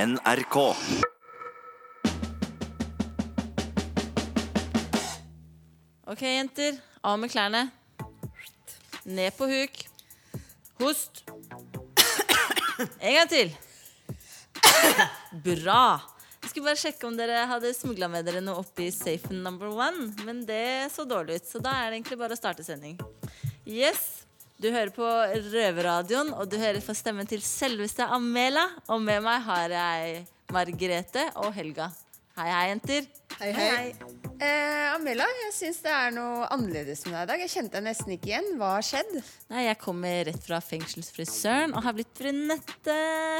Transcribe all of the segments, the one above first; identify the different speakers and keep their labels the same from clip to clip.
Speaker 1: NRK.
Speaker 2: Ok, jenter. Av med klærne. Ned på huk. Host. En gang til. Bra. Jeg skulle bare sjekke om dere hadde smugla med dere noe oppi safen number one, men det så dårlig ut, så da er det egentlig bare å starte sending. Yes. Du hører på Røverradioen, og du hører for stemmen til selveste Amela. Og med meg har jeg Margrete og Helga. Hei, hei, jenter.
Speaker 3: Hei, hei. Eh, Amela, jeg syns det er noe annerledes med deg i dag. Jeg kjente deg nesten ikke igjen. Hva har skjedd?
Speaker 2: Nei, jeg kommer rett fra fengselsfrisøren og har blitt brunette,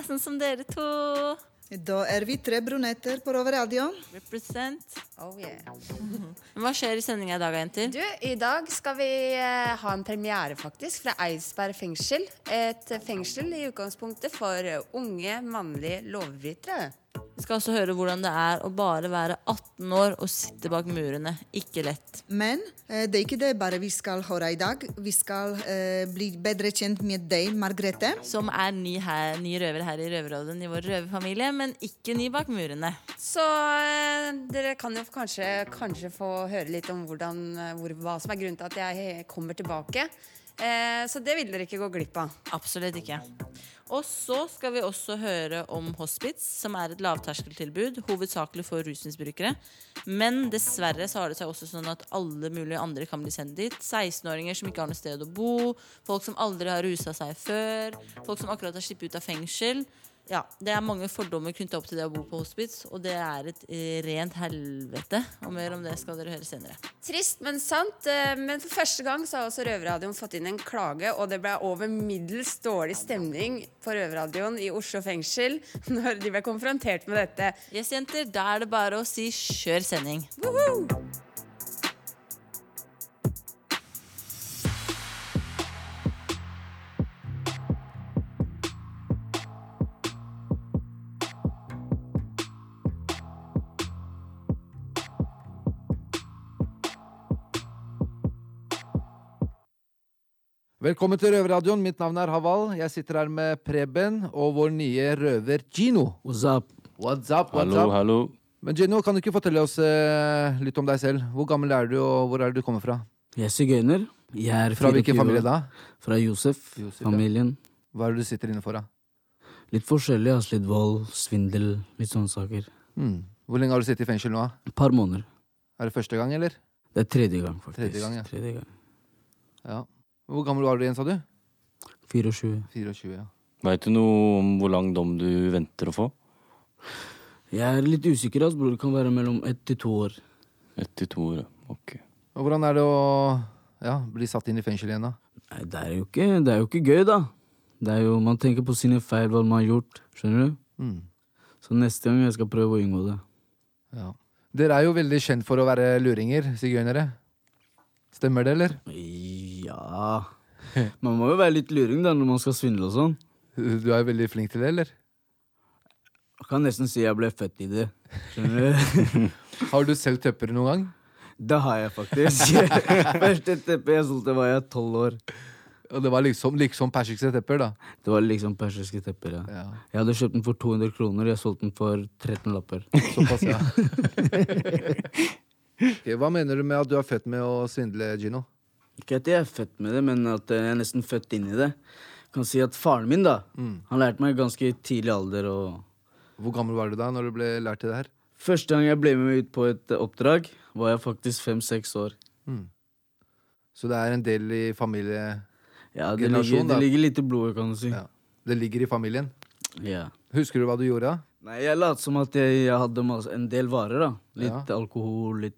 Speaker 2: sånn som dere to.
Speaker 4: Da er vi tre brunetter på Roverradio.
Speaker 2: Represent.
Speaker 3: Oh, yeah.
Speaker 2: Men Hva skjer i sendinga i dag, jenter?
Speaker 3: Du, i dag skal vi eh, ha en premiere, faktisk, fra Eidsberg fengsel. Et fengsel i utgangspunktet for eh, unge mannlige lovbrytere.
Speaker 2: Vi skal også høre hvordan det er å bare være 18 år og sitte bak murene. Ikke lett.
Speaker 4: Men eh, det er ikke det bare vi skal høre i dag. Vi skal eh, bli bedre kjent med deg, Margrethe.
Speaker 2: Som er ny, her, ny røver her i Røverrådet i vår røverfamilie, men ikke ny bak murene.
Speaker 3: Så eh, dere kan jo kanskje, kanskje få høre litt om hvordan, eh, hvor, hva som er grunnen til at jeg eh, kommer tilbake. Eh, så det vil dere ikke gå glipp av.
Speaker 2: Absolutt ikke. Og så skal vi også høre om hospits, som er et lavterskeltilbud, hovedsakelig for rusmisbrukere. Men dessverre så har det seg også sånn at alle mulige andre kan bli sendt dit. 16-åringer som ikke har noe sted å bo, folk som aldri har rusa seg før, folk som akkurat har sluppet ut av fengsel. Ja, Det er mange fordommer knytta opp til det å bo på hospits, og det er et eh, rent helvete. Og mer om det skal dere høre senere.
Speaker 3: Trist, men sant. Eh, Men for første gang så har også Røverradioen fått inn en klage, og det ble over middels dårlig stemning på Røverradioen i Oslo fengsel når de ble konfrontert med dette.
Speaker 2: Yes, jenter, da er det bare å si kjør sending.
Speaker 3: Woho!
Speaker 5: Velkommen til Røverradioen. Mitt navn er Haval. Jeg sitter her med Preben og vår nye røver Gino.
Speaker 6: What's up?
Speaker 5: What's up, what's
Speaker 6: Hallo,
Speaker 5: up?
Speaker 6: hallo.
Speaker 5: Men Gino, kan du ikke fortelle oss eh, litt om deg selv? Hvor gammel er du, og hvor er det du kommer fra?
Speaker 6: Jeg er sigøyner. Jeg er
Speaker 5: Fra
Speaker 6: 24
Speaker 5: hvilken familie
Speaker 6: år.
Speaker 5: da?
Speaker 6: Fra Josef.
Speaker 5: Josef, ja.
Speaker 6: familien.
Speaker 5: Hva er det du sitter inne for, da?
Speaker 6: Litt forskjellig. ass. Litt vold, svindel, litt sånne saker.
Speaker 5: Hmm. Hvor lenge har du sittet i fengsel nå? da?
Speaker 6: Et par måneder.
Speaker 5: Er det første gang, eller?
Speaker 6: Det er tredje gang, faktisk.
Speaker 5: Tredje gang, ja.
Speaker 6: Tredje gang.
Speaker 5: Ja. Hvor gammel var du igjen, sa du?
Speaker 6: 24.
Speaker 5: 24, ja.
Speaker 7: Veit du noe om hvor lang dom du venter å få?
Speaker 6: Jeg er litt usikker, ass, bror. Det kan være mellom ett til to år.
Speaker 7: Ett til to år. ja. Ok.
Speaker 5: Og hvordan er det å ja, bli satt inn i fengsel igjen, da?
Speaker 6: Nei, det er jo ikke, det er jo ikke gøy, da. Det er jo, Man tenker på sine feil, hva man har gjort. Skjønner du?
Speaker 5: Hmm.
Speaker 6: Så neste gang jeg skal prøve å unngå det.
Speaker 5: Ja. Dere er jo veldig kjent for å være luringer, sigøynere. Stemmer det, eller?
Speaker 6: Ja Man må jo være litt luring da når man skal svindle og sånn.
Speaker 5: Du er jo veldig flink til det, eller?
Speaker 6: Jeg kan nesten si jeg ble født i det. Skjønner du?
Speaker 5: Har du selv tøpper noen gang?
Speaker 6: Det har jeg faktisk. Første teppet jeg solgte, var jeg tolv år.
Speaker 5: Og det var liksom, liksom persiske tepper, da.
Speaker 6: Det var liksom persiske tepper. Ja.
Speaker 5: Ja,
Speaker 6: Jeg hadde kjøpt den for 200 kroner, jeg solgte den for 13 lapper.
Speaker 5: Såpass, ja. Ok, Hva mener du med at du er født med å svindle, Gino?
Speaker 6: Ikke at jeg er født med det, men at jeg er nesten født inn i det. Jeg kan si at faren min, da, han lærte meg i ganske tidlig alder og
Speaker 5: Hvor gammel var du da når du ble lært til det her?
Speaker 6: Første gang jeg ble med ut på et eh, oppdrag, var jeg faktisk fem-seks år.
Speaker 5: Mm. Så det er en del i familie...
Speaker 6: Ja, det ligger,
Speaker 5: Generasjon, da.
Speaker 6: det ligger litt i blodet, kan du si.
Speaker 5: Ja. Det ligger i familien.
Speaker 6: Ja.
Speaker 5: Husker du hva du gjorde da?
Speaker 6: Nei, jeg lot som at jeg, jeg hadde mas- en del varer, da. Litt alkohol, litt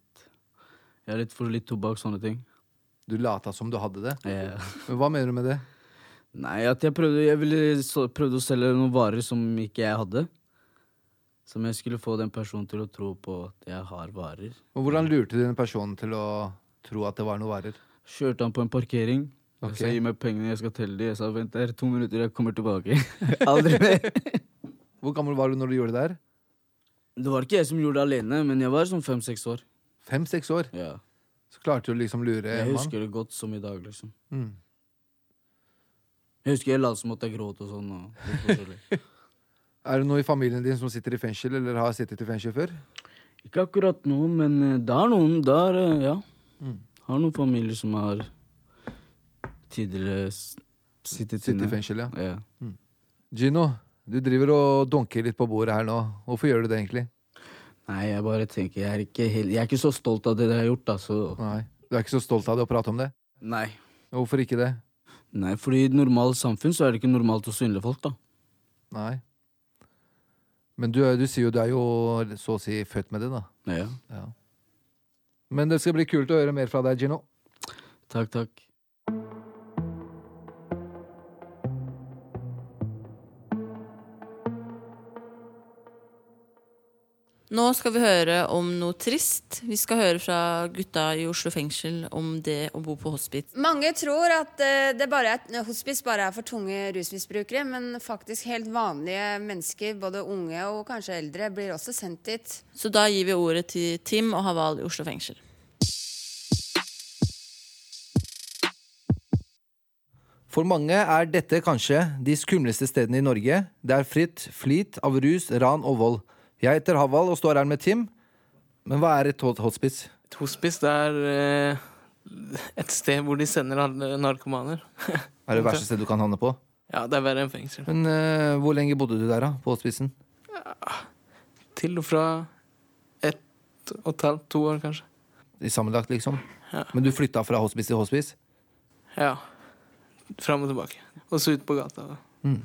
Speaker 6: Ja, litt for litt tobakk, sånne ting.
Speaker 5: Du lata som du hadde det.
Speaker 6: Ja.
Speaker 5: Men hva mener du med det?
Speaker 6: Nei, at jeg prøvde Jeg ville så, prøvde å selge noen varer som ikke jeg hadde. Som jeg skulle få den personen til å tro på at jeg har varer.
Speaker 5: Og hvordan lurte du den personen til å tro at det var noe varer?
Speaker 6: Kjørte han på en parkering.
Speaker 5: Ok.
Speaker 6: Jeg sa gi meg pengene, jeg skal telle de. Jeg sa vent der, to minutter, jeg kommer tilbake. Aldri mer.
Speaker 5: Hvor gammel var du når du gjorde det her?
Speaker 6: Det var ikke jeg som gjorde det alene, men jeg var sånn fem-seks år.
Speaker 5: Fem-seks år.
Speaker 6: Ja.
Speaker 5: Så klarte du liksom å lure
Speaker 6: Jeg
Speaker 5: en mann.
Speaker 6: husker det godt som i dag, liksom.
Speaker 5: Mm.
Speaker 6: Jeg husker jeg lot som at jeg gråt og sånn. Og litt forskjellig.
Speaker 5: Er det noen i familien din som sitter i fengsel, eller har sittet i fengsel før?
Speaker 6: Ikke akkurat nå, men eh, det er noen der, eh, ja.
Speaker 5: Mm.
Speaker 6: Har noen familier som har tidligere s- sittet
Speaker 5: Sittet i
Speaker 6: inne.
Speaker 5: fengsel, ja.
Speaker 6: Ja.
Speaker 5: Mm. Gino, du driver og donker litt på bordet her nå. Hvorfor gjør du det egentlig?
Speaker 6: Nei, jeg bare tenker Jeg er ikke, helt, jeg er ikke så stolt av det jeg har gjort, da, så
Speaker 5: Nei, Du er ikke så stolt av det å prate om det?
Speaker 6: Nei.
Speaker 5: Hvorfor ikke det?
Speaker 6: Nei, fordi i et normalt samfunn så er det ikke normalt å svindle folk, da.
Speaker 5: Nei. Men du, er- du sier jo du er jo så å si født med det, da.
Speaker 6: Ja.
Speaker 5: Men det skal bli kult å høre mer fra deg, Gino.
Speaker 6: Takk, takk.
Speaker 2: Nå skal vi høre om noe trist. Vi skal høre fra gutta i Oslo fengsel om det å bo på hospits.
Speaker 3: Mange tror at eh, det bare er, hospice bare er for tunge rusmisbrukere, men faktisk helt vanlige mennesker, både unge og kanskje eldre, blir også sendt dit.
Speaker 2: Så da gir vi ordet til Tim og Haval i Oslo fengsel.
Speaker 1: For mange er dette kanskje de skumleste stedene i Norge. Det er fritt flyt av rus, ran og vold. Jeg heter Haval og står her med Tim. Men hva er et hot- hospice?
Speaker 8: Et hospice det er eh, et sted hvor de sender alle narkomaner.
Speaker 1: Er det verste stedet du kan havne på?
Speaker 8: Ja, det er verre enn fengsel.
Speaker 1: Men eh, hvor lenge bodde du der, da? På hospicen?
Speaker 8: Til og fra ett og et halvt, to år kanskje.
Speaker 1: I sammenlagt, liksom?
Speaker 8: Ja.
Speaker 1: Men du flytta fra hospice til hospice?
Speaker 8: Ja. Fram og tilbake. Og så ut på gata. da.
Speaker 1: Mm.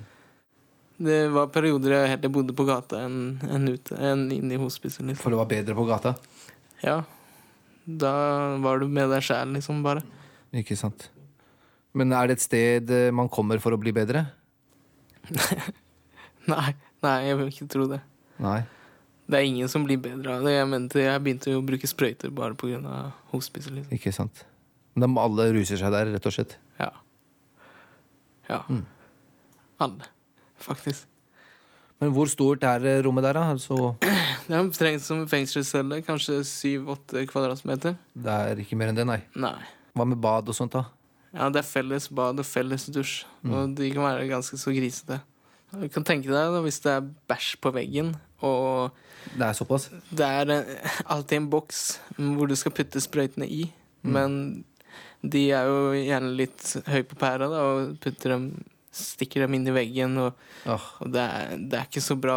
Speaker 8: Det var perioder jeg heller bodde på gata enn enn ute, enn inne i hospicet. Liksom.
Speaker 1: For det var bedre på gata?
Speaker 8: Ja. Da var du med deg sjæl, liksom, bare.
Speaker 1: Ikke sant. Men er det et sted eh, man kommer for å bli bedre?
Speaker 8: Nei, nei, jeg vil ikke tro det.
Speaker 1: Nei.
Speaker 8: Det er ingen som blir bedre av det. Jeg mente, jeg begynte jo å bruke sprøyter bare pga. hospicet, liksom.
Speaker 1: Ikke sant. Men de, alle ruser seg der, rett og slett. Mm.
Speaker 8: Ja. Ja. Alle, faktisk.
Speaker 1: Men hvor stort er eh, rommet der, da? Altså,
Speaker 8: Det er omtrent som en fengselscelle, kanskje syv-åtte kvadratmeter.
Speaker 1: det er ikke mer enn det, nei.
Speaker 8: Nei.
Speaker 1: Hva med bad og sånt, da?
Speaker 8: Ja, det er felles bad og felles dusj, og de kan være ganske så grisete. Du kan tenke deg da, hvis det er bæsj på veggen, og
Speaker 1: Det er såpass?
Speaker 8: det er eh, alltid en boks hvor du skal putte sprøytene i,
Speaker 1: Mm.
Speaker 8: men de er jo gjerne litt høy på pæra da, og putter dem, stikker dem inn i veggen, og,
Speaker 1: Åh,
Speaker 8: og det, er, det er ikke så bra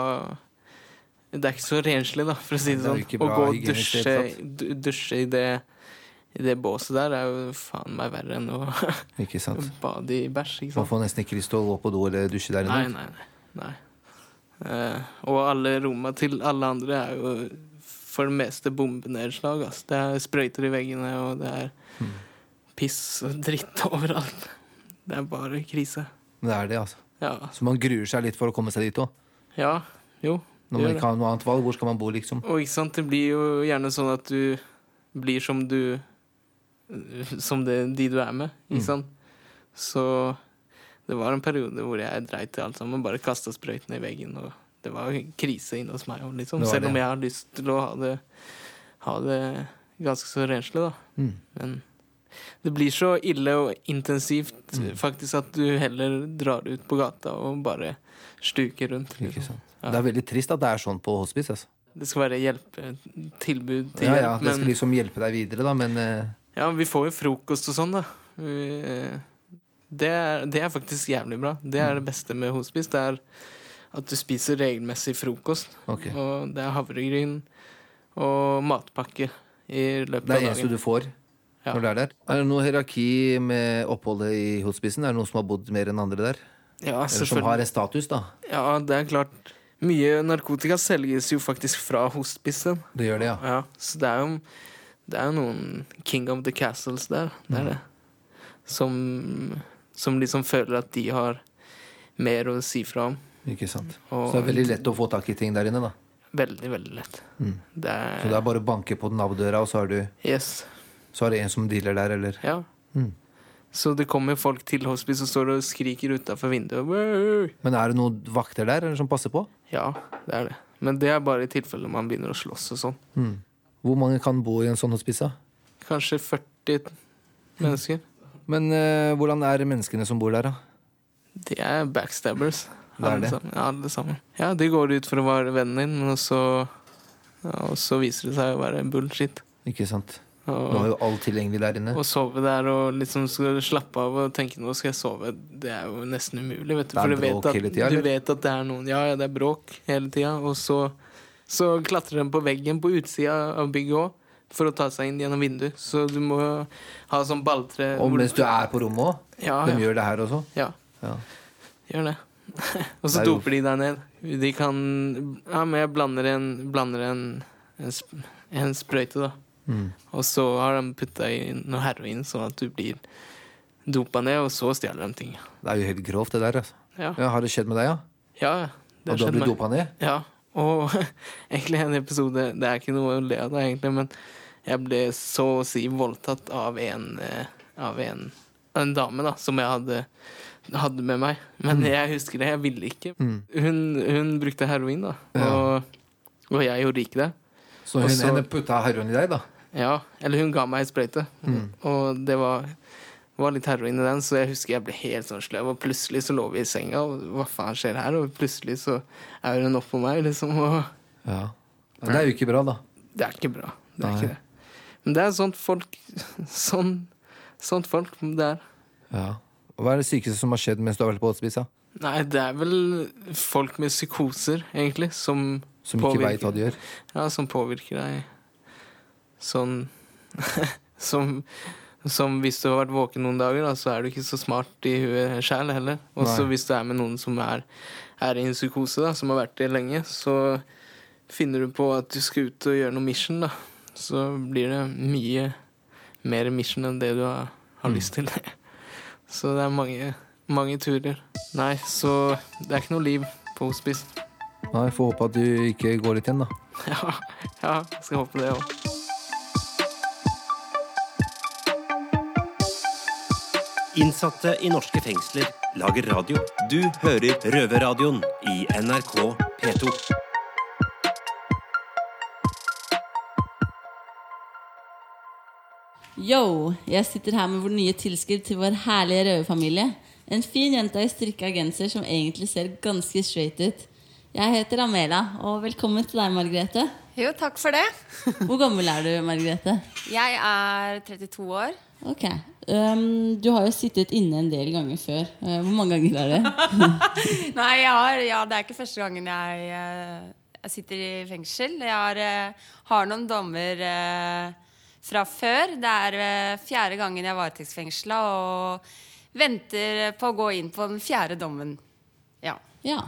Speaker 8: Det er ikke så renslig, da, for å si det,
Speaker 1: Det er jo ikke
Speaker 8: sånn. Å
Speaker 1: bra
Speaker 8: gå og
Speaker 1: hygienisk
Speaker 8: dusje,
Speaker 1: tilstand.
Speaker 8: du- dusje i, det, i det båset der er jo faen meg verre enn å
Speaker 1: ikke sant.
Speaker 8: Bade i bæsj, ikke
Speaker 1: Man
Speaker 8: sant?
Speaker 1: får nesten ikke lyst til å gå på do eller dusje der
Speaker 8: Nei,
Speaker 1: inne.
Speaker 8: nei, nei. nei. Eh, og alle rommene til alle andre er jo for det meste bombenedslag. ass. Det er sprøyter i veggene, og det er piss og dritt overalt. Det er bare krise.
Speaker 1: Det er det, altså.
Speaker 8: Ja.
Speaker 1: Så man gruer seg litt for å komme seg dit òg.
Speaker 8: ja. Jo.
Speaker 1: Når man
Speaker 8: Gjør det.
Speaker 1: ikke har noe annet valg, hvor skal man bo, liksom?
Speaker 8: Og ikke sant, det blir jo gjerne sånn at du blir som du Som det, de du er med,
Speaker 1: Mm.
Speaker 8: ikke sant? Så det var en periode hvor jeg dreit i alt sammen, bare kasta sprøytene i veggen, og det var krise inne hos meg òg, liksom.
Speaker 1: Det var
Speaker 8: Selv om
Speaker 1: det.
Speaker 8: jeg har lyst til å ha det, ha det ganske så renslig, da.
Speaker 1: Mm.
Speaker 8: Men det blir så ille og intensivt
Speaker 1: Mm.
Speaker 8: faktisk at du heller drar ut på gata og bare stuker rundt.
Speaker 1: Ikke
Speaker 8: Liksom.
Speaker 1: sant. Det er veldig trist at det er sånn på hospice. Altså.
Speaker 8: Det skal være hjelpetilbud til
Speaker 1: Ja, ja,
Speaker 8: hjelp,
Speaker 1: det skal liksom hjelpe deg videre, da, men eh,
Speaker 8: Ja, vi får jo frokost og sånn, da. Vi, eh, det, er, det er faktisk jævlig bra. Det
Speaker 1: Mm.
Speaker 8: er det beste med hospice. Det er at du spiser regelmessig frokost.
Speaker 1: ok.
Speaker 8: Og det er havregryn og matpakke i løpet
Speaker 1: Det er
Speaker 8: av
Speaker 1: det eneste
Speaker 8: dagen.
Speaker 1: du får
Speaker 8: Ja.
Speaker 1: når du er der. Er det noe hierarki med oppholdet i hospicen? Er det noen som har bodd mer enn andre der?
Speaker 8: Ja,
Speaker 1: Eller som har
Speaker 8: selvfølgelig.
Speaker 1: en status, da?
Speaker 8: Ja, det er klart. Mye narkotika selges jo faktisk fra hospicen.
Speaker 1: Det gjør det, ja.
Speaker 8: Ja, så det er jo Det er jo noen King of the Castles der. Det
Speaker 1: Mm.
Speaker 8: er det. Som, som liksom føler at de har mer å si fra om.
Speaker 1: Ikke sant.
Speaker 8: Og
Speaker 1: Så det er veldig lett Mm. å få tak i ting der inne, da.
Speaker 8: Veldig, veldig lett. Det
Speaker 1: Så
Speaker 8: er,
Speaker 1: det er bare å banke på nabodøra, og så har du
Speaker 8: Yes.
Speaker 1: så er det en som dealer der, eller
Speaker 8: Ja.
Speaker 1: Mm.
Speaker 8: Så det kommer folk til hospice og står og skriker utafor vinduet. «Wow!»
Speaker 1: Men er det noen vakter der eller som passer på?
Speaker 8: Ja, det er det. Men det er bare i tilfelle man begynner å slåss og sånn.
Speaker 1: Mm. Hvor mange kan bo i en sånn hospice? da?
Speaker 8: Kanskje 40 mennesker.
Speaker 1: Men eh, hvordan er menneskene som bor der, da?
Speaker 8: De er backstabbers.
Speaker 1: Det er det.
Speaker 8: Alle sammen. Ja, alle sammen. Ja, de går ut for å være vennen din, men så, ja, og så viser det seg å være bullshit.
Speaker 1: Ikke sant. Nå er
Speaker 8: Og,
Speaker 1: jo alt tilgjengelig der inne.
Speaker 8: å sove der og liksom skal slappe av og tenke nå skal jeg sove, det er jo nesten umulig. Vet du.
Speaker 1: Det er
Speaker 8: For du
Speaker 1: bråk
Speaker 8: vet, at,
Speaker 1: hele tida,
Speaker 8: du
Speaker 1: eller?
Speaker 8: vet at det er noen Ja, ja, det er bråk hele tida. Og så, så klatrer de på veggen på utsida av bygget òg. For å ta seg inn gjennom vinduet. Så du må ha sånn balltre
Speaker 1: Og mens du er på rommet òg.
Speaker 8: ja,
Speaker 1: De
Speaker 8: ja.
Speaker 1: gjør det her også.
Speaker 8: Ja.
Speaker 1: Ja.
Speaker 8: Gjør det. og
Speaker 1: Det
Speaker 8: så
Speaker 1: er jo-
Speaker 8: doper de deg ned. De kan Ja, men jeg blander en, blander en, en, sp en sprøyte, da.
Speaker 1: Mm.
Speaker 8: Og så har de putta i noe heroin, sånn at du blir dopa ned, og så stjeler de ting.
Speaker 1: Det er jo helt grovt, det der. Altså.
Speaker 8: Ja,
Speaker 1: Ja, har det skjedd med deg, ja?
Speaker 8: ja. ja, Det
Speaker 1: Og du har
Speaker 8: skjedde
Speaker 1: blitt
Speaker 8: meg.
Speaker 1: dopa ned?
Speaker 8: Ja. Og egentlig en episode Det er ikke noe å le av, da, egentlig, men jeg ble så å si voldtatt av en eh, Av en, en dame, da, som jeg hadde, hadde med meg. Men
Speaker 1: Mm.
Speaker 8: jeg husker det, jeg ville ikke. Hun, hun brukte heroin, da, og, og jeg gjorde ikke det.
Speaker 1: Så
Speaker 8: Og
Speaker 1: hun
Speaker 8: så-
Speaker 1: henne putta heroin i deg, da?
Speaker 8: Ja, eller hun ga meg en sprøyte,
Speaker 1: Mm.
Speaker 8: og det var, var litt heroin i den, så jeg husker jeg ble helt sånn sløv, og plutselig så lå vi i senga, og hva faen skjer her? Og plutselig så er hun oppå meg, liksom, og
Speaker 1: Ja. ja. Det er jo ikke bra, da.
Speaker 8: det er ikke bra. Det
Speaker 1: Nei.
Speaker 8: er ikke det. Men det er sånt folk sånn, sånt folk det er.
Speaker 1: Ja. Hva er det sykeste som har skjedd mens du har vært på hospice? da?
Speaker 8: Nei, det er vel folk med psykoser, egentlig, som
Speaker 1: Som ikke veit hva du gjør?
Speaker 8: Ja, som påvirker deg sånn som, som hvis du har vært våken noen dager, da, så er du ikke så smart i huet sjæl heller. Og så
Speaker 1: Nei.
Speaker 8: hvis du er med noen som er, er i en psykose, da, som har vært det lenge, så finner du på at du skal ut og gjøre noe mission, da. Så blir det mye mer mission enn det du har, har lyst til. Så det er mange, mange turer. Nei, så det er ikke noe liv på hospice.
Speaker 1: Nei, Får håpe at du ikke går litt igjen, da.
Speaker 8: Ja, ja skal håpe det òg.
Speaker 9: Innsatte i norske fengsler lager radio. Du hører Røverradioen i NRK P2.
Speaker 2: Yo, jeg sitter her med vårt nye tilskudd til vår herlige røverfamilie. En fin jente i strikka genser som egentlig ser ganske straight ut. Jeg heter Amela, og velkommen til deg, Margrethe.
Speaker 3: Jo, takk for det.
Speaker 2: Hvor gammel er du, Margrethe?
Speaker 3: Jeg er 32 år.
Speaker 2: Ok, øhm, Du har jo sittet inne en del ganger før. Eh, Hvor mange ganger er det?
Speaker 3: Nei, jeg har, ja, det er ikke første gangen jeg, eh, jeg sitter i fengsel. Jeg har, eh, har noen dommer eh, fra før. Det er eh, fjerde gangen jeg er varetektsfengsla og venter på å gå inn på den fjerde dommen. Ja.
Speaker 2: Ja,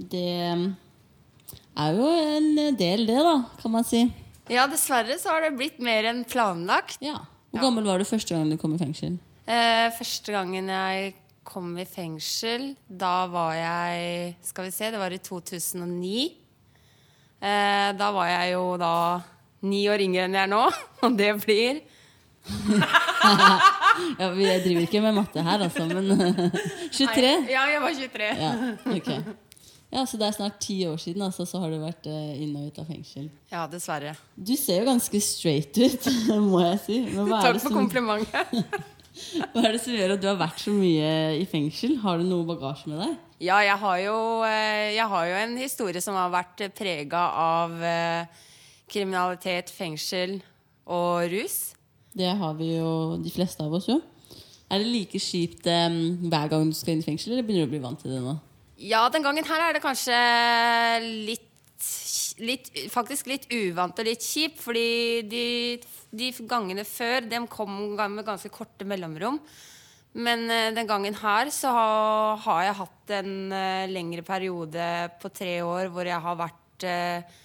Speaker 2: det øhm, er jo en del, det, da, kan man si.
Speaker 3: ja, dessverre så har det blitt mer enn planlagt.
Speaker 2: Ja. Hvor gammel var du første gang du kom i fengsel?
Speaker 3: Eh, første gangen jeg kom i fengsel, da var jeg Skal vi se, det var i 2009. Eh, da var jeg jo da ni år yngre enn jeg er nå, og det blir
Speaker 2: Ja, vi- Jeg driver ikke med matte her, altså, men 23?
Speaker 3: Ja, jeg var 23. Ja,
Speaker 2: Ja, ok Ja, så det er snart ti år siden altså, Så har du vært eh, inn og ut av fengsel
Speaker 3: dessverre.
Speaker 2: Du ser jo ganske straight ut, må jeg si Men hva er,
Speaker 3: Takk
Speaker 2: det
Speaker 3: for
Speaker 2: som,
Speaker 3: komplimentet.
Speaker 2: hva er det som gjør at du har vært så mye i fengsel? Har du noe bagasje med deg?
Speaker 3: Ja, jeg har jo, eh, jeg har jo en historie som har vært prega av eh, kriminalitet, fengsel og rus.
Speaker 2: Det har vi jo, de fleste av oss jo Er det like kjipt eh, hver gang du skal inn i fengsel Eller begynner du å bli vant til det nå?
Speaker 3: Ja, den gangen her er det kanskje litt, litt Faktisk litt uvant og litt kjip, fordi de, de gangene før, dem kom med ganske korte mellomrom. Men eh, den gangen her så ha, har jeg hatt en eh, lengre periode på tre år hvor jeg har vært eh,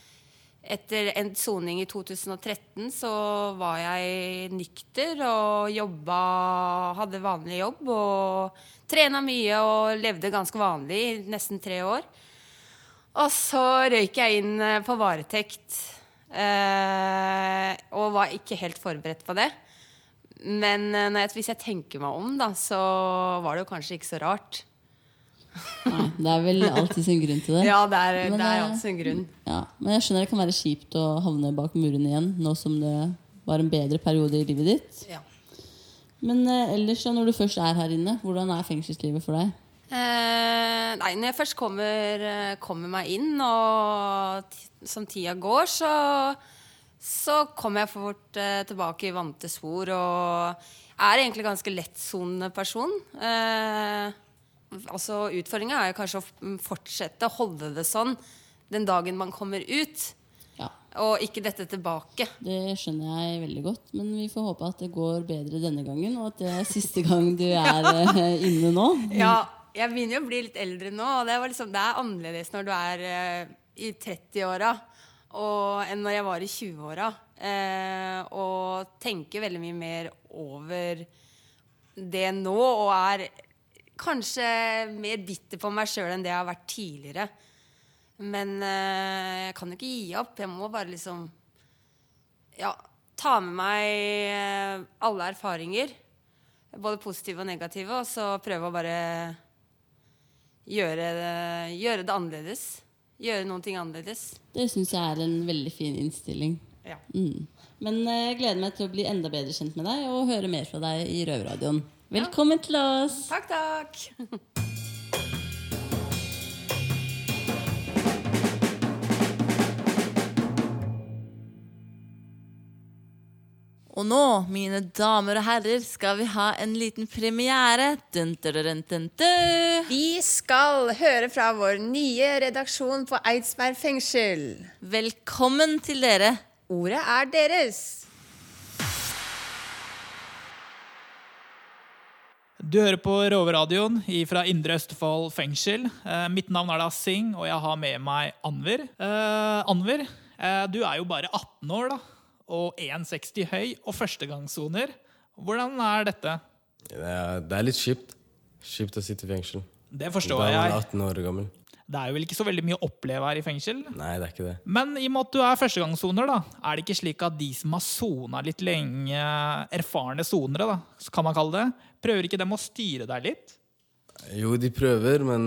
Speaker 3: etter endt soning i 2013 så var jeg nykter og jobba Hadde vanlig jobb og trena mye og levde ganske vanlig i nesten tre år. Og så røyk jeg inn eh, på varetekt eh, og var ikke helt forberedt på det. Men eh, når jeg, hvis jeg tenker meg om, da, så var det jo kanskje ikke så rart.
Speaker 2: Nei, det er vel alltid sin grunn til det
Speaker 3: Ja, det er,
Speaker 2: Men,
Speaker 3: det er
Speaker 2: eh,
Speaker 3: altså en grunn.
Speaker 2: Ja, Men jeg skjønner det kan være kjipt å havne bak muren igjen Nå som det var en bedre periode i livet ditt
Speaker 3: Ja.
Speaker 2: Men eh, ellers da, når du først er her inne Hvordan er fengselslivet for deg?
Speaker 3: Eh, nei, når jeg først kommer, eh, kommer meg inn, og t som tida går, så, så kommer jeg fort eh, tilbake i vante spor. Og er egentlig ganske lettsonende person. Eh, altså Utfordringa er jo kanskje å f- mm, fortsette å holde det sånn den dagen man kommer ut,
Speaker 10: Ja.
Speaker 3: og ikke dette tilbake.
Speaker 10: Det skjønner jeg veldig godt, men vi får håpe at det går bedre denne gangen, og at det er siste gang du er eh, inne nå.
Speaker 3: Ja, jeg begynner jo å bli litt eldre nå, og det, var liksom, det er annerledes når du er eh, i 30-åra og- enn når jeg var i 20-åra. Eh, og tenker veldig mye mer over det nå, og er kanskje mer bitter på meg sjøl enn det jeg har vært tidligere. Men eh, jeg kan jo ikke gi opp. Jeg må bare liksom ja, ta med meg eh, alle erfaringer. Både positive og negative. Og så prøve å bare gjøre det, gjøre det annerledes. Gjøre noen ting annerledes.
Speaker 10: Det syns jeg er en veldig fin innstilling.
Speaker 3: Ja.
Speaker 10: Mm. Men eh, jeg gleder meg til å bli enda bedre kjent med deg og høre mer fra deg i Røverradioen. Velkommen til oss!
Speaker 3: Takk, takk.
Speaker 2: Og nå, mine damer og herrer, skal vi ha en liten premiere. Dun, dun, dun, dun, dun.
Speaker 11: Vi skal høre fra vår nye redaksjon på Eidsberg fengsel.
Speaker 2: Velkommen til dere.
Speaker 11: Ordet er deres.
Speaker 12: Du hører på Roveradioen fra Indre Østfold fengsel. Eh, mitt navn er da Singh, og jeg har med meg Anver. Eh, Anver, eh, du er jo bare 18 år da, og 1,60 høy og førstegangssoner. Hvordan er dette?
Speaker 13: Det er, det er litt kjipt. Kjipt å sitte i fengsel.
Speaker 12: Det forstår
Speaker 13: Da man er
Speaker 12: jeg.
Speaker 13: 18 år gammel.
Speaker 12: Det er jo vel ikke så veldig mye å oppleve her i fengsel?
Speaker 13: Nei, det er ikke det.
Speaker 12: Men i og med at du er førstegangssoner, da, er det ikke slik at de som har sona litt lenge, erfarne sonere, da, kan man kalle det, prøver ikke dem å styre deg litt?
Speaker 13: Jo, de prøver, men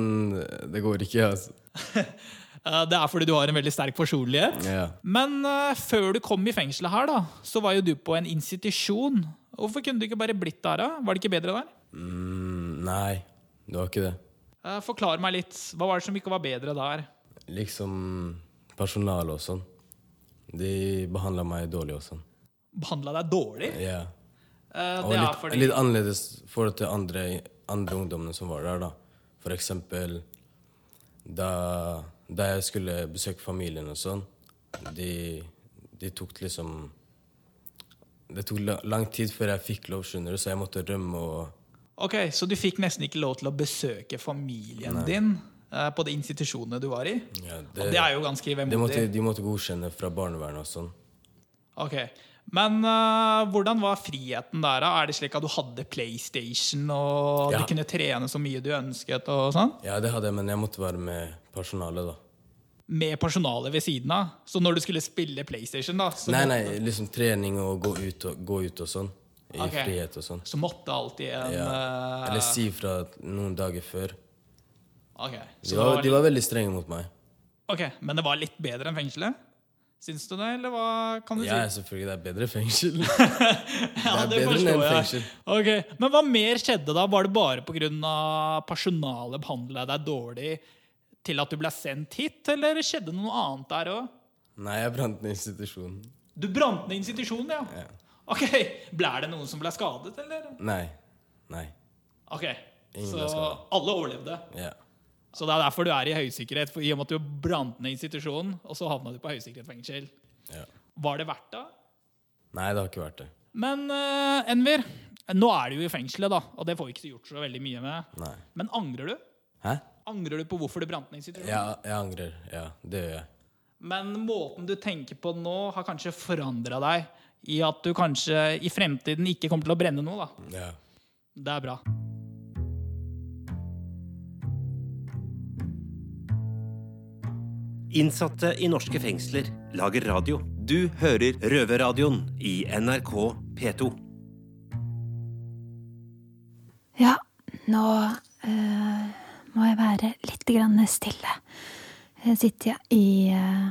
Speaker 13: det går ikke, altså.
Speaker 12: Eh, Det er fordi du har en veldig sterk personlighet.
Speaker 13: Ja.
Speaker 12: Men eh, før du kom i fengselet her, da, så var jo du på en institusjon. Hvorfor kunne du ikke bare blitt der, da? Var det ikke bedre der?
Speaker 13: Mm, nei, det var ikke det.
Speaker 12: Eh, Forklar meg litt. Hva var det som ikke var bedre der?
Speaker 13: Liksom personalet og sånn. De behandla meg dårlig og sånn.
Speaker 12: Behandla deg dårlig?
Speaker 13: Ja.
Speaker 12: Eh,
Speaker 13: Og
Speaker 12: Det
Speaker 13: litt,
Speaker 12: er fordi
Speaker 13: litt annerledes forhold til andre, andre ungdommene som var der, da. For eksempel da, da jeg skulle besøke familien og sånn, de, de tok liksom Det tok la- lang tid før jeg fikk lov, skjønner du, så jeg måtte rømme og
Speaker 12: Ok, Så du fikk nesten ikke lov til å besøke familien
Speaker 13: Nei.
Speaker 12: din eh, på de institusjonene du var i?
Speaker 13: ja,
Speaker 12: Og det er jo ganske
Speaker 13: de måtte,
Speaker 12: vemodig.
Speaker 13: de måtte godkjenne fra barnevernet og sånn.
Speaker 12: Ok, Men eh, hvordan var friheten der, da? Er det slik at du hadde PlayStation og
Speaker 13: Ja.
Speaker 12: du kunne trene så mye du ønsket? og sånn?
Speaker 13: Ja, det hadde jeg, men jeg måtte være med personalet, da.
Speaker 12: med personalet ved siden av. Så når du skulle spille PlayStation, da, så,
Speaker 13: Nei, nei,
Speaker 12: måtte,
Speaker 13: liksom trening og gå ut og, gå ut og sånn. I
Speaker 12: Ok.
Speaker 13: frihet og sånn.
Speaker 12: så måtte alltid en
Speaker 13: Ja.
Speaker 12: eh,
Speaker 13: Eller si fra noen dager før.
Speaker 12: ok,
Speaker 13: De
Speaker 12: så det
Speaker 13: var,
Speaker 12: var
Speaker 13: de var veldig strenge mot meg.
Speaker 12: ok, men det var litt bedre enn fengselet? Syns du det, eller hva kan du
Speaker 13: Ja,
Speaker 12: si?
Speaker 13: selvfølgelig. Det er bedre fengsel.
Speaker 12: Ja,
Speaker 13: det er bedre enn fengsel.
Speaker 12: Ok, Men hva mer skjedde da? Var det bare pga. personalet behandla deg dårlig til at du ble sendt hit, eller skjedde noe annet der òg?
Speaker 13: Nei, jeg brant ned institusjonen.
Speaker 12: Du brant ned institusjonen, ja. Ok, Ble det noen som ble skadet, eller?
Speaker 13: Nei. Nei.
Speaker 12: Ok,
Speaker 13: Ingen
Speaker 12: Så
Speaker 13: ble skadet.
Speaker 12: alle overlevde?
Speaker 13: Ja.
Speaker 12: Så det er derfor du er i høysikkerhet, for i og med at du brant ned institusjonen, og så havna du på høysikkerhetsfengsel.
Speaker 13: Ja.
Speaker 12: Var det verdt det?
Speaker 13: Nei, det har ikke vært det.
Speaker 12: Men eh, Enver, nå er du jo i fengselet, da, og det får vi ikke gjort så veldig mye med.
Speaker 13: Nei.
Speaker 12: Men angrer du?
Speaker 13: Hæ?
Speaker 12: Angrer du på hvorfor du brant ned institusjonen?
Speaker 13: Ja, jeg angrer. Ja, det gjør jeg.
Speaker 12: Men måten du tenker på nå, har kanskje forandra deg? I at du kanskje i fremtiden ikke kommer til å brenne noe, da.
Speaker 13: Ja.
Speaker 12: Det er bra.
Speaker 9: Innsatte i norske fengsler lager radio. Du hører Røverradioen i NRK P2.
Speaker 14: Ja, nå eh, må jeg være litt grann stille. Her sitter jeg i eh,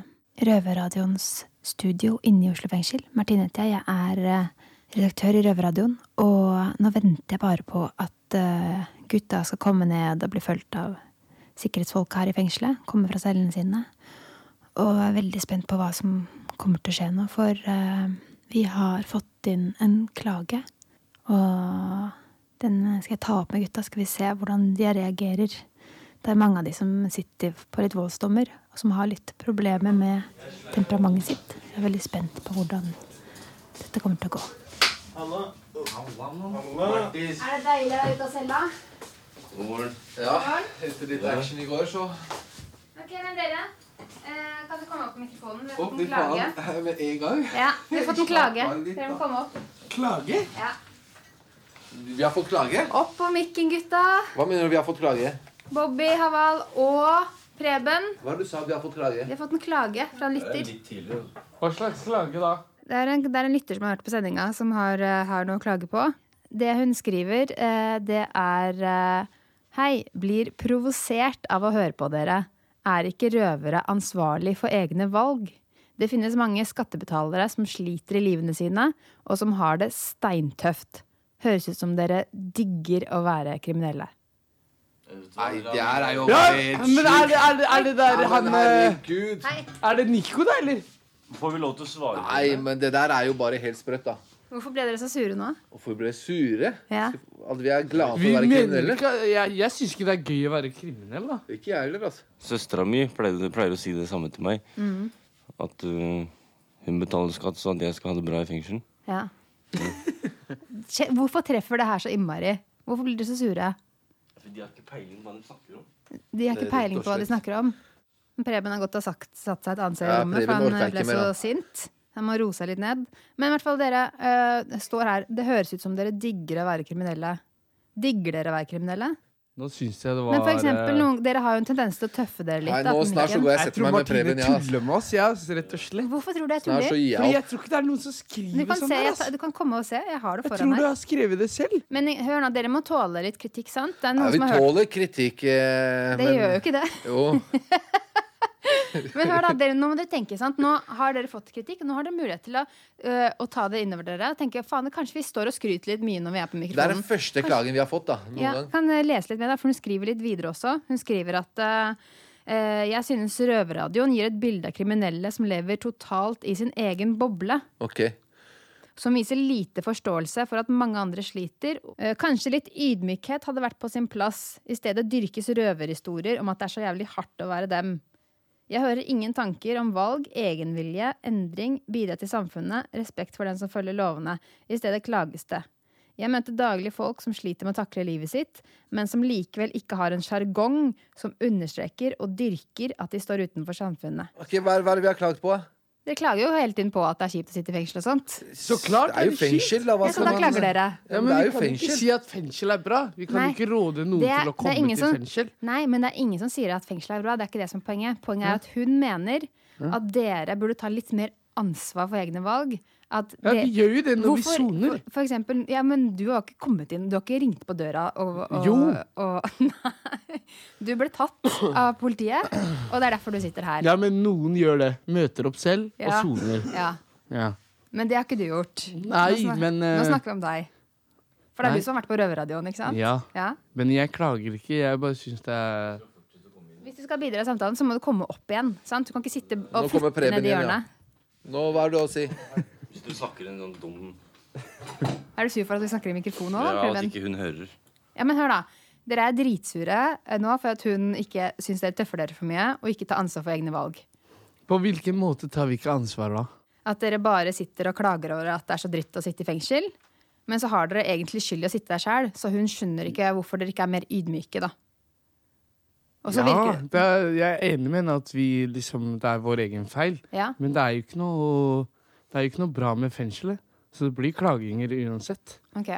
Speaker 14: Røverradioens studio inne i Oslo fengsel. Martine heter jeg. Jeg er eh, redaktør i Røverradioen. Og nå venter jeg bare på at
Speaker 3: at eh, gutta skal komme ned og bli fulgt av sikkerhetsfolk her i fengselet. Komme fra cellene sine. Og er veldig spent på hva som kommer til å skje nå, for eh, vi har fått inn en klage. Og den eh, skal jeg ta opp med gutta, skal vi se hvordan de reagerer. Det er mange av de som sitter på litt voldsdommer, og som har litt problemer med temperamentet sitt. Jeg er veldig spent på hvordan dette kommer til å gå.
Speaker 6: Halla.
Speaker 1: Martis.
Speaker 3: Er det deilig å være ute av cella?
Speaker 6: God morgen.
Speaker 1: Ja, etter litt action i går, så
Speaker 11: Ok, men dere, eh, kan du komme opp på mikrofonen? Vi har
Speaker 1: Å,
Speaker 11: fått
Speaker 1: fy
Speaker 11: en klage.
Speaker 1: faen. Med en gang.
Speaker 11: Ja, vi har fått en klage. Dere må komme opp.
Speaker 1: Klage?
Speaker 11: Ja.
Speaker 1: Vi har fått klage?
Speaker 11: Opp på mikken, gutta.
Speaker 1: Hva mener du vi har fått klage?
Speaker 11: Bobby, Haval og Preben.
Speaker 1: Hva er det du sa vi har fått
Speaker 11: Vi
Speaker 1: klage?
Speaker 11: har fått en klage fra en lytter.
Speaker 1: Hva slags klage da?
Speaker 11: Det er, en, det er en lytter som har hørt på sendinga, som har, eh, har noe å klage på. Det hun skriver, eh, det er eh, Hei, blir provosert av å høre på dere. Er ikke røvere ansvarlig for egne valg? Det finnes mange skattebetalere som sliter i livene sine, og som har det steintøft. Høres ut som dere digger å være kriminelle.
Speaker 1: Nei, det her er jo
Speaker 15: Ja,
Speaker 1: helt
Speaker 15: men er det, er det, er det der
Speaker 1: Ja,
Speaker 15: han
Speaker 1: men
Speaker 15: eh,
Speaker 1: herregud.
Speaker 15: Er det Nico, da, eller?
Speaker 1: Får vi lov til å svare? Nei, men det der er jo bare helt sprøtt, da.
Speaker 11: Hvorfor ble dere så sure nå?
Speaker 1: Hvorfor vi ble sure?
Speaker 11: Ja.
Speaker 1: At vi er glade for
Speaker 15: Vi
Speaker 1: å være
Speaker 15: mener
Speaker 1: kriminelle?
Speaker 15: ikke Jeg, jeg syns ikke det er gøy å være kriminell, da.
Speaker 1: Ikke jeg heller, altså.
Speaker 7: Søstera mi pleier, pleier å si det samme til meg.
Speaker 11: Mhm.
Speaker 7: At øh, hun betaler skatt så at jeg skal ha det bra i fengsel.
Speaker 11: Ja. Kje- Hvorfor treffer det her så innmari? Hvorfor blir dere så sure?
Speaker 7: Altså, De har ikke peiling på hva de snakker om.
Speaker 11: De har ikke peiling på hva de snakker om. Men Preben har godt ha sagt, satt seg et annet sted i
Speaker 7: Ja,
Speaker 11: rommet,
Speaker 7: Preben
Speaker 11: for
Speaker 7: orker
Speaker 11: han
Speaker 7: ikke
Speaker 11: ble
Speaker 7: mer,
Speaker 11: så
Speaker 7: da.
Speaker 11: sint. Han må roe seg litt ned. Men i hvert fall, dere eh, står her. Det høres ut som dere digger å være kriminelle. Digger dere å være kriminelle?
Speaker 15: Nå syns jeg det var
Speaker 11: Men for eksempel,
Speaker 15: eh,
Speaker 11: noen, dere har jo en tendens til å tøffe dere litt. da, på mikken.
Speaker 15: tror Martine tuller med oss, jeg, altså, rett og slett.
Speaker 11: Hvorfor tror du jeg
Speaker 15: Snart
Speaker 11: tuller?
Speaker 15: så gir jeg Fordi jeg opp.
Speaker 11: tror ikke det er noen som skriver du kan
Speaker 15: sånn
Speaker 11: se,
Speaker 15: der,
Speaker 11: jeg
Speaker 15: altså.
Speaker 11: ta- Du kan komme og se. Jeg har det
Speaker 15: Jeg
Speaker 11: foran
Speaker 15: tror du
Speaker 11: meg.
Speaker 15: har skrevet det selv.
Speaker 11: Men hør nå, dere må tåle litt kritikk, sant? Det er
Speaker 1: Ja,
Speaker 11: noen
Speaker 1: vi
Speaker 11: som har hørt
Speaker 1: tåler kritikk, eh,
Speaker 11: Det gjør jo ikke det.
Speaker 1: Jo.
Speaker 11: Men hør da, dere, nå må dere tenke, sant? Nå har dere fått kritikk, og nå har dere mulighet til å, øh, å ta det innover dere. Og tenke, faen, kanskje vi står og skryter litt mye når vi er på
Speaker 1: Det er
Speaker 11: mikrofonen.
Speaker 1: den første klagen vi har fått, da. Noen
Speaker 11: ja,
Speaker 1: gang.
Speaker 11: kan jeg lese litt med deg, for hun skriver litt videre også. Hun skriver at øh, øh, jeg synes røverradioen gir et bilde av kriminelle som lever totalt i sin egen boble
Speaker 1: Ok.
Speaker 11: som viser lite forståelse for at mange andre sliter. Eh, Kanskje litt ydmykhet hadde vært på sin plass. I stedet dyrkes røverhistorier om at det er så jævlig hardt å være dem. Jeg hører ingen tanker om valg, egenvilje, endring, bidra til samfunnet, respekt for den som følger lovene. I stedet klages det. Jeg møter daglig folk som sliter med å takle livet sitt, men som likevel ikke har en sjargong som understreker og dyrker at de står utenfor samfunnet.
Speaker 1: Ok, hva, er- hva er det vi har klagd på?
Speaker 11: Dere klager jo hele tiden på at det er kjipt å sitte i fengsel og sånt.
Speaker 1: Så klart
Speaker 15: er det kjipt.
Speaker 1: fengsel, da. Hva
Speaker 11: Ja, så
Speaker 1: skal
Speaker 11: da
Speaker 1: man-
Speaker 11: klager dere.
Speaker 15: Ja, men
Speaker 1: det er
Speaker 15: vi
Speaker 1: jo
Speaker 15: kan
Speaker 1: fengsel.
Speaker 15: ikke si at fengsel er bra. Vi kan
Speaker 11: Nei.
Speaker 15: ikke råde noen
Speaker 11: Det er-
Speaker 15: til å
Speaker 11: det er
Speaker 15: komme
Speaker 11: ingen
Speaker 15: til
Speaker 11: som-
Speaker 15: fengsel.
Speaker 11: Nei, men det er ingen som sier at fengsel er bra. Det er ikke det som er poenget. Poenget
Speaker 15: Ja.
Speaker 11: er at hun mener
Speaker 15: Ja.
Speaker 11: at dere burde ta litt mer ansvar for egne valg. At
Speaker 15: Ja,
Speaker 11: det-
Speaker 15: vi gjør jo det når vi
Speaker 11: Hvorfor-
Speaker 15: soner.
Speaker 11: For, for eksempel, ja, men du har ikke kommet inn. Du har ikke ringt på døra og, og,
Speaker 15: Jo.
Speaker 11: og Nei. Du ble tatt av politiet, og det er derfor du sitter her.
Speaker 15: Ja, men noen gjør det. Møter opp selv
Speaker 11: Ja.
Speaker 15: og soner.
Speaker 11: Ja.
Speaker 15: Ja.
Speaker 11: Men det har ikke du gjort.
Speaker 15: Nei,
Speaker 11: nå snak-
Speaker 15: men, eh,
Speaker 11: Nå snakker vi om deg. For det er
Speaker 15: nei.
Speaker 11: du som har vært på røverradioen, ikke sant?
Speaker 15: Ja.
Speaker 11: ja.
Speaker 15: Men jeg klager ikke. Jeg bare syns det er
Speaker 11: Hvis du skal bidra i samtalen, så må du komme opp igjen. Sant? Du kan ikke sitte og
Speaker 1: Nå
Speaker 11: flytte
Speaker 1: kommer Preben
Speaker 11: ned i
Speaker 1: igjen, ja.
Speaker 11: hjørnet.
Speaker 1: Nå, hva har du å si?
Speaker 7: Hvis du snakker en sånn dum
Speaker 11: Er du sur for at vi snakker i mikrofon nå?
Speaker 7: Ja, at
Speaker 11: Preben?
Speaker 7: ikke hun hører.
Speaker 11: Ja, men hør da. Dere er dritsure eh, nå for at hun ikke syns dere tøffer dere for mye og ikke tar ansvar for egne valg.
Speaker 15: På hvilken måte tar vi ikke ansvar, da?
Speaker 11: At dere bare sitter og klager over at det er så dritt å sitte i fengsel. Men så har dere egentlig skyld i å sitte der sjæl, så hun skjønner ikke hvorfor dere ikke er mer ydmyke, da. Og så
Speaker 15: ja,
Speaker 11: virker
Speaker 15: det er, jeg er enig med henne at vi liksom, det er vår egen feil.
Speaker 11: Ja.
Speaker 15: Men det er jo ikke noe, det er jo ikke noe bra med fengselet. Så det blir klaginger uansett.
Speaker 11: Ok.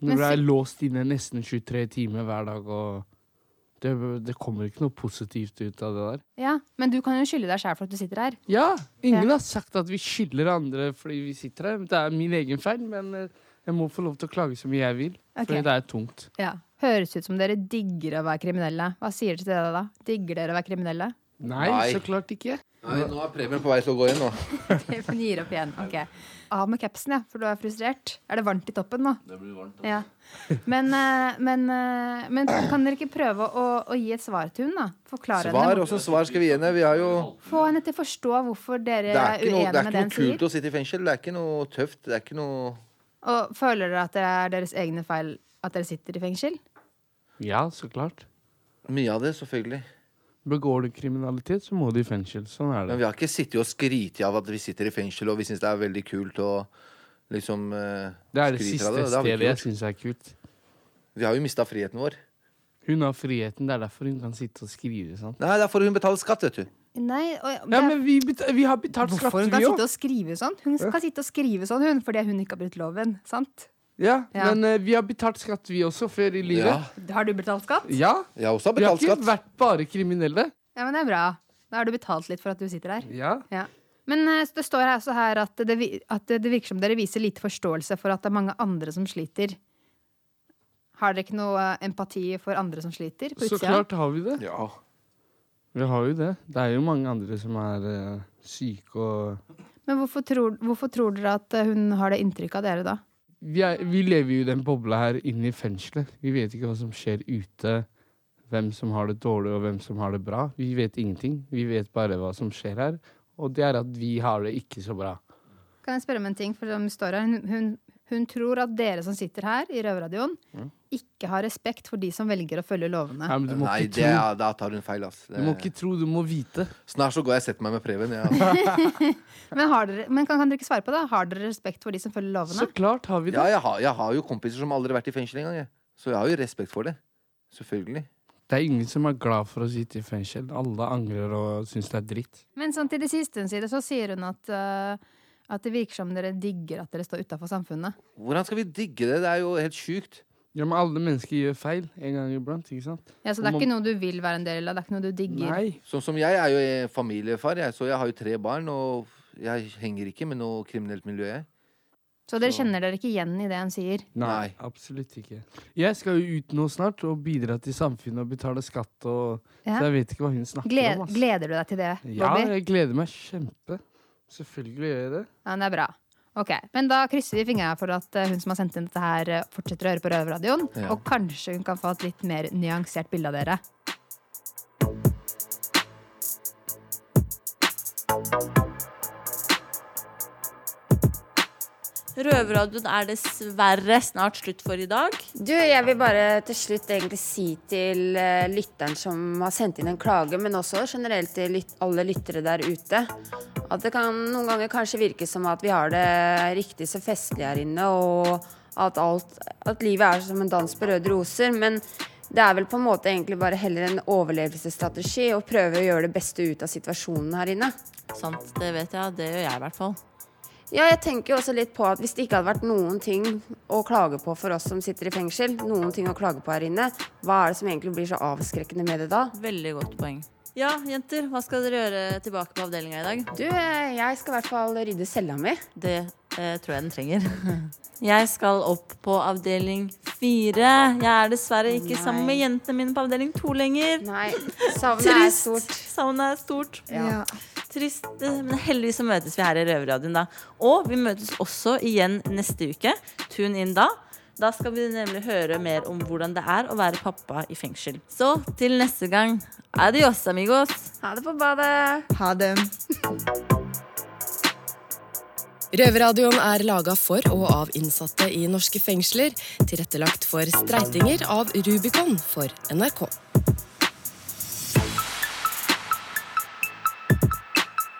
Speaker 11: Men
Speaker 15: Når du
Speaker 11: si-
Speaker 15: er låst inne nesten 23 timer hver dag, og det, det kommer ikke noe positivt ut av det der.
Speaker 11: Ja, men du kan jo skylde deg sjæl for at du sitter her.
Speaker 15: Ja, ingen
Speaker 11: Ja.
Speaker 15: har sagt at vi skylder andre fordi vi sitter her. Det er min egen feil, men eh, jeg må få lov til å klage så mye jeg vil.
Speaker 11: Ok.
Speaker 15: Fordi det er tungt.
Speaker 11: Ja. Høres ut som dere digger å være kriminelle. Hva sier dere til det da? Digger dere å være kriminelle?
Speaker 6: Nei,
Speaker 1: Nei.
Speaker 6: så klart ikke.
Speaker 1: Nei, nå er premien på vei til å gå inn, nå.
Speaker 11: Hun gir opp igjen. Ok. Av med capsen, ja, for du er frustrert. Er det varmt i toppen nå?
Speaker 1: Det blir varmt.
Speaker 11: Ja. Men, eh, men, eh, men kan dere ikke prøve å, å gi et svar til hun da? Forklare
Speaker 1: Svar,
Speaker 11: henne.
Speaker 1: også svar skal vi gi henne. Vi har jo
Speaker 11: Få henne til å forstå hvorfor dere
Speaker 1: Det
Speaker 11: er,
Speaker 1: er ikke noe, det
Speaker 11: uenige med
Speaker 1: er ikke
Speaker 11: det hun
Speaker 1: noe
Speaker 11: sier.
Speaker 1: kult å sitte i fengsel. Det er ikke noe tøft. Det er ikke noe
Speaker 11: Og føler dere at det er deres egne feil at dere sitter i fengsel?
Speaker 15: Ja, så klart.
Speaker 1: Mye av det, selvfølgelig.
Speaker 15: Begår du kriminalitet, så må du i fengsel. Sånn er det.
Speaker 1: Men vi har ikke sittet og skritt av at vi sitter i fengsel, og vi syns det er veldig kult og liksom eh,
Speaker 15: Det er det
Speaker 1: skryter
Speaker 15: siste
Speaker 1: av har vi ikke
Speaker 15: stedet jeg
Speaker 1: gjort.
Speaker 15: syns er kult.
Speaker 1: Vi har jo mista friheten vår.
Speaker 15: Hun har friheten, det er derfor hun kan sitte og skrive sånn.
Speaker 1: Nei, det er for hun betaler skatt, vet du.
Speaker 11: Nei, og,
Speaker 15: Ja, men vi, bet- vi har betalt skatt,
Speaker 11: Hvorfor hun kan
Speaker 15: vi
Speaker 11: sitte
Speaker 15: òg.
Speaker 11: og skrive sånn? Hun
Speaker 15: Ja.
Speaker 11: kan sitte og skrive sånn, hun, fordi hun ikke har brutt loven. sant?
Speaker 15: Ja,
Speaker 11: Ja.
Speaker 15: men eh, vi har betalt skatt, vi også, før i livet.
Speaker 11: Har du betalt skatt?
Speaker 15: Ja.
Speaker 1: Jeg også har
Speaker 15: vi har
Speaker 1: betalt
Speaker 15: ikke
Speaker 1: skatt.
Speaker 15: vært bare kriminelle.
Speaker 11: Ja, men det er bra. Da har du betalt litt for at du sitter der.
Speaker 15: Ja.
Speaker 11: Ja. Men eh, det står her også her at det, vi- at det virker som dere viser lite forståelse for at det er mange andre som sliter. Har dere ikke noe eh, empati for andre som sliter? På
Speaker 15: Så
Speaker 11: utsida?
Speaker 15: klart har vi det. Vi har jo det. Det er jo mange andre som er eh, syke og
Speaker 11: Men hvorfor tror, hvorfor tror dere at eh, hun har det inntrykket av dere da?
Speaker 15: vi, er, vi lever jo i den bobla her inne i fengselet. Vi vet ikke hva som skjer ute. Hvem som har det dårlig, og hvem som har det bra. Vi vet ingenting. Vi vet bare hva som skjer her. Og det er at vi har det ikke så bra.
Speaker 11: Kan jeg spørre om en ting? For som det står her, hun, hun, hun tror at dere som sitter her i Røverradioen,
Speaker 1: Mm.
Speaker 11: ikke har respekt for de som velger å følge lovene.
Speaker 15: Nei, men du må
Speaker 1: Nei,
Speaker 15: ikke
Speaker 1: det,
Speaker 15: tro.
Speaker 1: er- da tar hun feil, ass.
Speaker 15: Du må ikke tro, du må vite.
Speaker 1: Snart så går jeg og setter meg med Preben. Ja.
Speaker 11: men har dere, men kan, kan dere ikke svare på det? Har dere respekt for de som følger lovene?
Speaker 15: klart har vi
Speaker 1: det. Ja, jeg, har, jeg har jo kompiser som aldri har vært i fengsel engang, jeg. så jeg har jo respekt for det. Selvfølgelig.
Speaker 15: Det er ingen som er glad for å sitte i fengsel. Alle angrer og syns det er dritt.
Speaker 11: Men sånn til det siste hun sier, så sier hun at, eh, at det virker som dere digger at dere står utafor samfunnet.
Speaker 1: Hvordan skal vi digge det? Det er jo helt sjukt.
Speaker 15: Ja, men alle mennesker gjør feil en gang iblant, ikke sant?
Speaker 11: Ja, Så det er ikke noe du vil være en del av, det er ikke noe du digger.
Speaker 1: Sånn som jeg er jo eh, familiefar, jeg, så jeg har jo tre barn, og jeg henger ikke med noe kriminelt miljø, jeg.
Speaker 11: Så dere kjenner dere ikke igjen i det hun sier?
Speaker 15: Nei, absolutt ikke. Jeg skal jo ut nå snart og bidra til samfunnet og betale skatt og
Speaker 11: Ja.
Speaker 15: Så jeg vet ikke hva hun snakker
Speaker 11: Gle-
Speaker 15: om. ass.
Speaker 11: gleder du deg til det,
Speaker 15: Ja,
Speaker 11: Bobby?
Speaker 15: jeg gleder meg kjempe. Selvfølgelig gjør jeg det.
Speaker 11: Ja, men det er bra. Ok, Men da krysser vi fingrene for at eh, hun som har sendt inn dette, her eh, fortsetter å høre på Røverradioen.
Speaker 15: Ja.
Speaker 11: Og kanskje hun kan få et litt mer nyansert bilde av dere.
Speaker 2: Røverradioen er dessverre snart slutt for i dag.
Speaker 3: Du, jeg vil bare til slutt egentlig si til eh, lytteren som har sendt inn en klage, men også generelt til lyt alle lyttere der ute, at det kan noen ganger kanskje virke som at vi har det riktig så festlig her inne, og at, alt, at livet er som en dans på røde roser, men det er vel på en måte egentlig bare heller en overlevelsesstrategi å prøve å gjøre det beste ut av situasjonen her inne.
Speaker 2: Sant, det vet jeg. Det gjør jeg i hvert fall.
Speaker 3: Ja, jeg tenker jo også litt på at hvis det ikke hadde vært noen ting å klage på for oss som sitter i fengsel, noen ting å klage på her inne, hva er det som egentlig blir så avskrekkende med det da?
Speaker 2: Veldig godt poeng. Ja, jenter, hva skal dere gjøre tilbake på avdelinga i dag?
Speaker 3: Du, eh, jeg skal i hvert fall rydde cella mi.
Speaker 2: Det eh, tror jeg den trenger. Jeg skal opp på avdeling fire. Jeg er dessverre ikke
Speaker 3: Nei.
Speaker 2: sammen med jentene mine på avdeling to lenger.
Speaker 3: Nei, savnet er
Speaker 2: Trist.
Speaker 3: stort.
Speaker 2: Savnet er stort.
Speaker 3: Ja.
Speaker 2: Trist. eh, Men heldigvis så møtes vi her i Røverradioen da. Og vi møtes også igjen neste uke. Tune inn da. Da skal vi nemlig høre mer om hvordan det er å være pappa i fengsel. Så til neste gang. Adios, amigos.
Speaker 3: Ha det på badet.
Speaker 4: Ha det.
Speaker 16: Røverradioen er laga for og av innsatte i norske fengsler. Tilrettelagt for streitinger av Rubicon for NRK.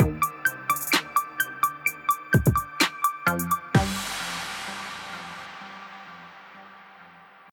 Speaker 17: you.